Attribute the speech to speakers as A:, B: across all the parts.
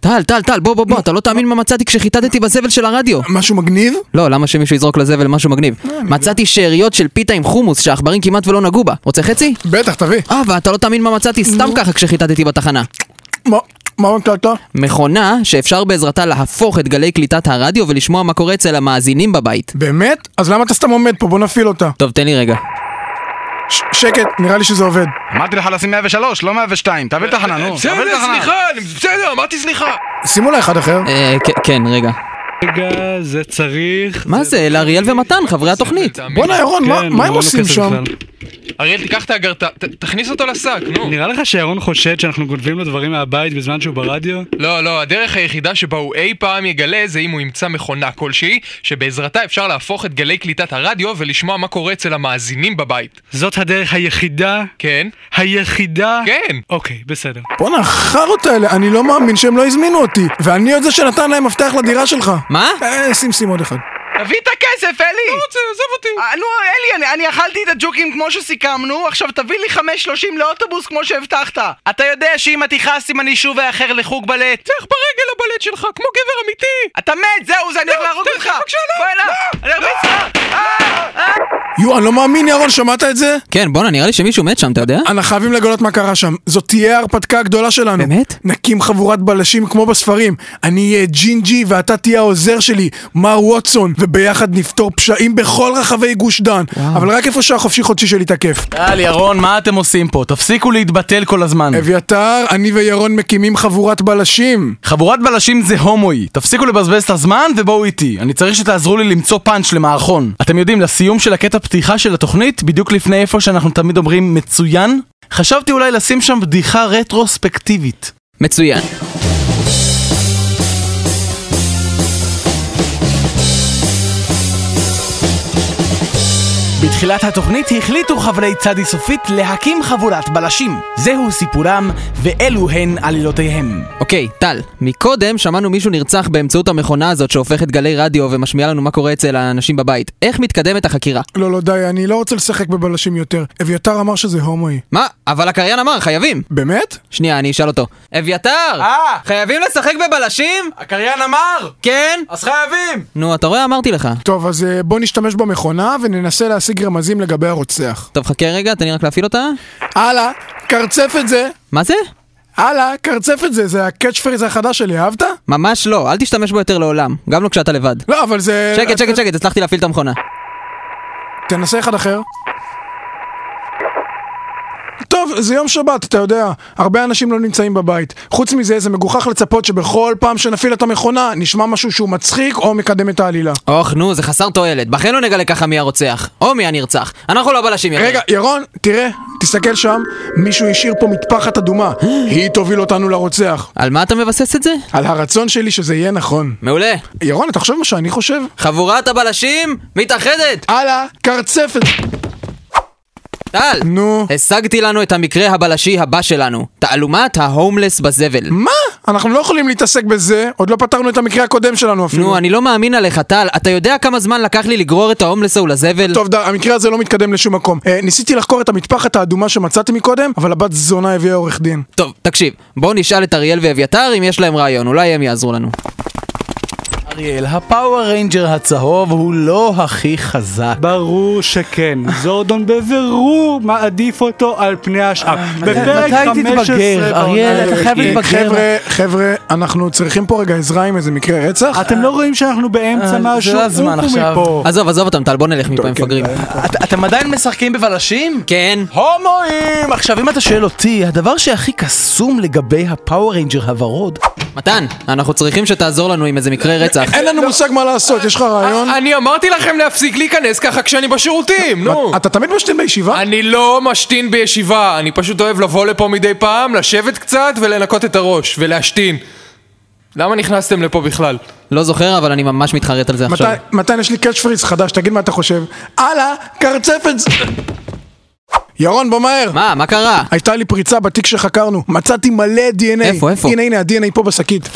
A: טל, טל, טל, בוא, בוא, בוא, אתה לא תאמין מה מצאתי כשחיטטתי בזבל של הרדיו.
B: משהו מגניב?
A: לא, למה שמישהו יזרוק לזבל משהו מגניב? מצאתי שאריות של פיתה עם חומוס שהעכברים כמעט ולא נגעו בה. רוצה חצי?
B: בטח, תביא.
A: אה, ואתה לא תאמין מה מצאתי סתם ככה כשחיטטתי בתחנה.
B: מה, מה מצאת?
A: מכונה שאפשר בעזרתה להפוך את גלי קליטת הרדיו ולשמוע מה קורה אצל המאזינים בבית.
B: באמת? אז למה אתה סתם עומד פה? בוא נפעיל אותה.
A: טוב, תן לי רגע.
B: ש- שקט, נראה לי שזה עובד.
C: אמרתי לך לשים 103, לא 102, תעביר תחנה, נו. תעביר
D: אה, בסדר,
C: תחנה.
D: סליחה, אני- בסדר, אמרתי סליחה.
B: שימו לה אחד אחר.
A: אה, כ- כן, רגע.
E: רגע, זה צריך...
A: מה זה, לאריאל ומתן, חברי התוכנית.
D: לא
E: תאמין לי.
B: בואנה, ירון, מה-
E: כן,
B: מה הם
E: לא
B: עושים
E: כסף
B: שם?
E: בכלל.
D: אריאל, תיקח את האגרטה, ת- תכניס אותו לשק, נו.
E: נראה לך שירון חושד שאנחנו גונבים לו דברים מהבית בזמן שהוא ברדיו?
D: לא, לא, הדרך היחידה שבה הוא אי פעם יגלה זה אם הוא ימצא מכונה כלשהי, שבעזרתה אפשר להפוך את גלי קליטת הרדיו ולשמוע מה קורה אצל המאזינים בבית.
E: זאת הדרך היחידה?
D: כן?
E: היחידה?
D: כן.
E: אוקיי, בסדר.
B: בואנה, החארות האלה, אני לא מאמין שהם לא הזמינו אותי. ואני עוד זה שנתן להם מפתח לדירה שלך.
A: מה?
B: אה, שים, שים עוד אחד.
F: תביא את הכסף, אלי!
D: רוצה, עזוב אותי.
F: אה, נו, אלי, אני, אני אכלתי את הג'וקים כמו שסיכמנו, עכשיו תביא לי 5.30 לאוטובוס כמו שהבטחת. אתה יודע שאם אתה תכעס אם אני שוב אאחר לחוג בלט.
D: תלך ברגל לבלט שלך, כמו גבר אמיתי!
F: אתה מת, זהו, זה אני הולך להרוג אותך!
D: בבקשה, לא!
F: בוא אליו! אני ארביץ לך!
B: יו, אני לא מאמין, ירון, שמעת את זה?
A: כן, בואנה, נראה לי שמישהו מת שם, אתה יודע?
B: אנחנו חייבים לגלות מה קרה שם. זאת תהיה ההרפתקה הגדולה שלנו.
A: באמת?
B: נקים חבורת בלשים כמו בספרים. אני אהיה ג'ינג'י ואתה תהיה העוזר שלי, מר ווטסון, וביחד נפתור פשעים בכל רחבי גוש דן.
A: וואו.
B: אבל רק איפה שהחופשי חודשי שלי תקף.
G: יאללה, ירון, מה אתם עושים פה? תפסיקו להתבטל כל הזמן.
D: אה,
B: אביתר, אני וירון מקימים חבורת בלשים.
G: חבורת בלשים זה הומואי. תפסיקו לבזבז את הזמן ובואו איתי. אני צריך שתעזרו לי למצוא פאנץ' למערכון. אתם יודעים, לסיום של הקטע פתיחה של התוכנית, בדיוק לפני איפה שאנחנו תמיד אומרים מצוין, חשבתי אולי לשים שם בדיחה רטרוספקטיבית.
A: מצוין.
G: בתחילת התוכנית החליטו חברי צדי סופית להקים חבורת בלשים. זהו סיפורם, ואלו הן עלילותיהם.
A: אוקיי, טל, מקודם שמענו מישהו נרצח באמצעות המכונה הזאת שהופכת גלי רדיו ומשמיעה לנו מה קורה אצל האנשים בבית. איך מתקדמת החקירה?
B: לא, לא, די, אני לא רוצה לשחק בבלשים יותר. אביתר אמר שזה הומואי.
A: מה? אבל הקריין אמר, חייבים!
B: באמת?
A: שנייה, אני אשאל אותו. אביתר!
G: אה!
A: חייבים לשחק בבלשים?
G: הקריין אמר!
A: כן?
G: אז חייבים!
A: נו, אתה רואה? אמרתי לך.
B: טוב, אז אה, בוא נשתמש במכונה וננסה להשיג רמזים לגבי הרוצח.
A: טוב, חכה רגע, תן לי רק להפעיל אותה.
B: הלאה, קרצף את זה.
A: מה זה?
B: הלאה, קרצף את זה, זה הקאץ' פריז החדש שלי, אהבת?
A: ממש לא, אל תשתמש בו יותר לעולם. גם לא כשאתה לבד.
B: לא, אבל זה...
A: שקט, שקט, שקט, הצלחתי להפעיל את המכונה.
B: תנסה אחד אחר. טוב, זה יום שבת, אתה יודע. הרבה אנשים לא נמצאים בבית. חוץ מזה, זה מגוחך לצפות שבכל פעם שנפעיל את המכונה, נשמע משהו שהוא מצחיק או מקדם את העלילה.
A: אוח, נו, זה חסר תועלת. בכן לא נגלה ככה מי הרוצח, או מי הנרצח. אנחנו לא בלשים יותר.
B: רגע, ירון, תראה, תסתכל שם, מישהו השאיר פה מטפחת אדומה. היא תוביל אותנו לרוצח.
A: על מה אתה מבסס את זה?
B: על הרצון שלי שזה יהיה נכון.
A: מעולה.
B: ירון, אתה חושב מה שאני חושב?
A: חבורת הבלשים מתאחדת!
B: הלאה, קרצפת.
A: טל!
B: נו.
A: השגתי לנו את המקרה הבלשי הבא שלנו. תעלומת ההומלס בזבל.
B: מה? אנחנו לא יכולים להתעסק בזה, עוד לא פתרנו את המקרה הקודם שלנו אפילו.
A: נו, אני לא מאמין עליך, טל. אתה יודע כמה זמן לקח לי לגרור את ההומלס ההוא לזבל?
B: טוב, די, המקרה הזה לא מתקדם לשום מקום. אה, ניסיתי לחקור את המטפחת האדומה שמצאתי מקודם, אבל הבת זונה הביאה עורך דין.
A: טוב, תקשיב. בואו נשאל את אריאל ואביתר אם יש להם רעיון, אולי הם יעזרו לנו.
G: אריאל, הפאוור ריינג'ר הצהוב הוא לא הכי חזק.
E: ברור שכן, זורדון בבירור מעדיף אותו על פני השאר. בפרק
G: אה, מתי תתבגר,
E: 15 בעונה אה,
G: אריאל, אתה
E: הרביעית.
G: חייב להתבגר.
B: אה, חבר'ה, חבר'ה, אנחנו צריכים פה רגע עזרה עם איזה מקרה רצח?
E: אתם לא רואים שאנחנו באמצע
G: אה, זה
E: משהו?
G: לא הזמן
E: עופו
G: עכשיו.
E: מפה.
A: עזוב, עזוב אותם, טל, בוא נלך מפה,
B: כן.
A: הם מפגרים.
G: את- אתם עדיין משחקים בבלשים?
A: כן?
G: הומואים! עכשיו, אם אתה שואל אותי, הדבר שהכי קסום לגבי הפאוור ריינג'ר הוורוד...
A: מתן, אנחנו צריכים שתעזור לנו עם איזה מקרה רצח.
B: אין לנו מושג מה לעשות,
A: אה,
B: יש לך רעיון?
D: אני אמרתי לכם להפסיק להיכנס ככה כשאני בשירותים,
A: אה,
D: נו.
B: אתה תמיד משתין בישיבה?
D: אני לא משתין בישיבה, אני פשוט אוהב לבוא לפה מדי פעם, לשבת קצת ולנקות את הראש, ולהשתין. למה נכנסתם לפה בכלל?
A: לא זוכר, אבל אני ממש מתחרט על זה
B: מתי-
A: עכשיו.
B: מתן, יש לי קאץ' פריז חדש, תגיד מה אתה חושב. הלאה, קרצפת... ירון, בוא מהר.
A: מה, מה קרה?
B: הייתה לי פריצה בתיק שחקרנו, מצאתי מלא DNA.
A: איפה, איפה?
B: הנה, הנה, ה-DNA פה בשקית.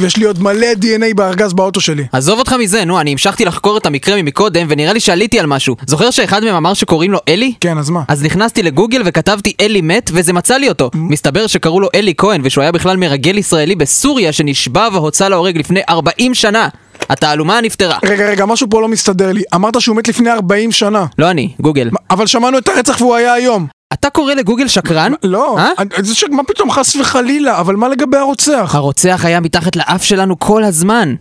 B: ויש לי עוד מלא DNA בארגז באוטו שלי.
A: עזוב אותך מזה, נו, אני המשכתי לחקור את המקרה ממקודם, ונראה לי שעליתי על משהו. זוכר שאחד מהם אמר שקוראים לו אלי?
B: כן, אז מה?
A: אז נכנסתי לגוגל וכתבתי אלי מת, וזה מצא לי אותו. מסתבר שקראו לו אלי כהן, ושהוא היה בכלל מרגל ישראלי בסוריה שנשבע והוצא להורג לפני 40 שנה. התעלומה נפתרה.
B: רגע, רגע, משהו פה לא מסתדר לי. אמרת שהוא מת לפני 40 שנה.
A: לא אני, גוגל.
B: אבל שמענו את הרצח והוא היה היום.
A: אתה קורא לגוגל שקרן?
B: לא,
A: אה?
B: אני- זה ש- מה פתאום, חס וחלילה, אבל מה לגבי הרוצח?
A: הרוצח היה מתחת לאף שלנו כל הזמן.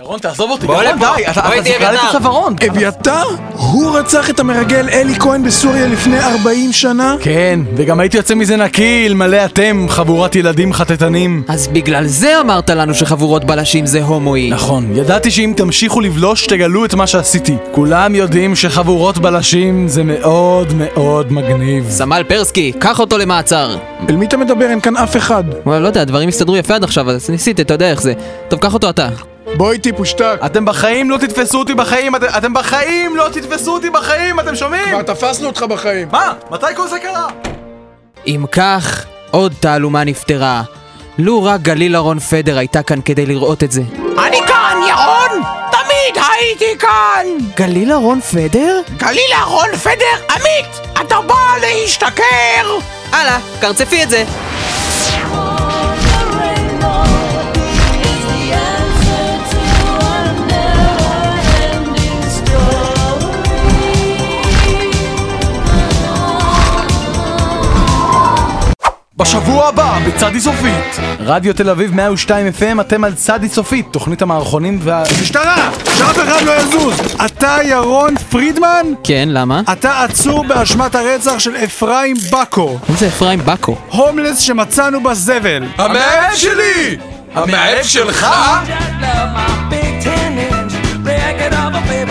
G: ירון, תעזוב אותי. ירון, די. אתה
A: בואי תהיה
G: אתה זיכה לי את
A: בית"ר.
G: הצווארון.
B: אביתר? הוא רצח את המרגל אלי כהן בסוריה לפני 40 שנה?
G: כן, וגם הייתי יוצא מזה נקי, אלמלא אתם, חבורת ילדים חטטנים.
A: אז בגלל זה אמרת לנו שחבורות בלשים זה הומואי.
G: נכון, ידעתי שאם תמשיכו לבלוש תגלו את מה שעשיתי. כולם יודעים שחבורות בלשים זה מאוד מאוד מגניב.
A: סמל פרסקי, קח אותו למעצר.
B: אל מי אתה מדבר? אין כאן אף אחד.
A: וואי, לא יודע, הדברים הסתדרו יפה עד עכשיו, אז ניסית, אתה יודע איך זה. טוב, קח אותו אתה.
B: בוא איתי פושטק.
G: אתם בחיים לא תתפסו אותי בחיים, אתם, אתם בחיים לא תתפסו אותי בחיים, אתם שומעים?
B: כבר תפסנו אותך בחיים.
G: מה? מתי כל זה קרה?
A: אם כך, עוד תעלומה נפתרה. לו רק גליל אהרון פדר הייתה כאן כדי לראות את זה. אני כאן, ירון! תמיד הייתי כאן! גליל אהרון פדר?
H: גליל אהרון פדר, עמית, אתה בא להשתכר!
A: הלאה, קרצפי את זה.
G: בשבוע הבא, בצדי סופית. רדיו תל אביב 102 FM, אתם על צדי סופית, תוכנית המערכונים וה...
E: משטרה! שאף אחד לא יזוז! אתה ירון פרידמן?
A: כן, למה?
E: אתה עצור באשמת הרצח של אפרים בקו,
A: מי זה אפרים בקו?
E: הומלס שמצאנו בזבל.
G: המאהב שלי! המאהב שלך?
H: Jack love my big tan inch, ragged of a baby.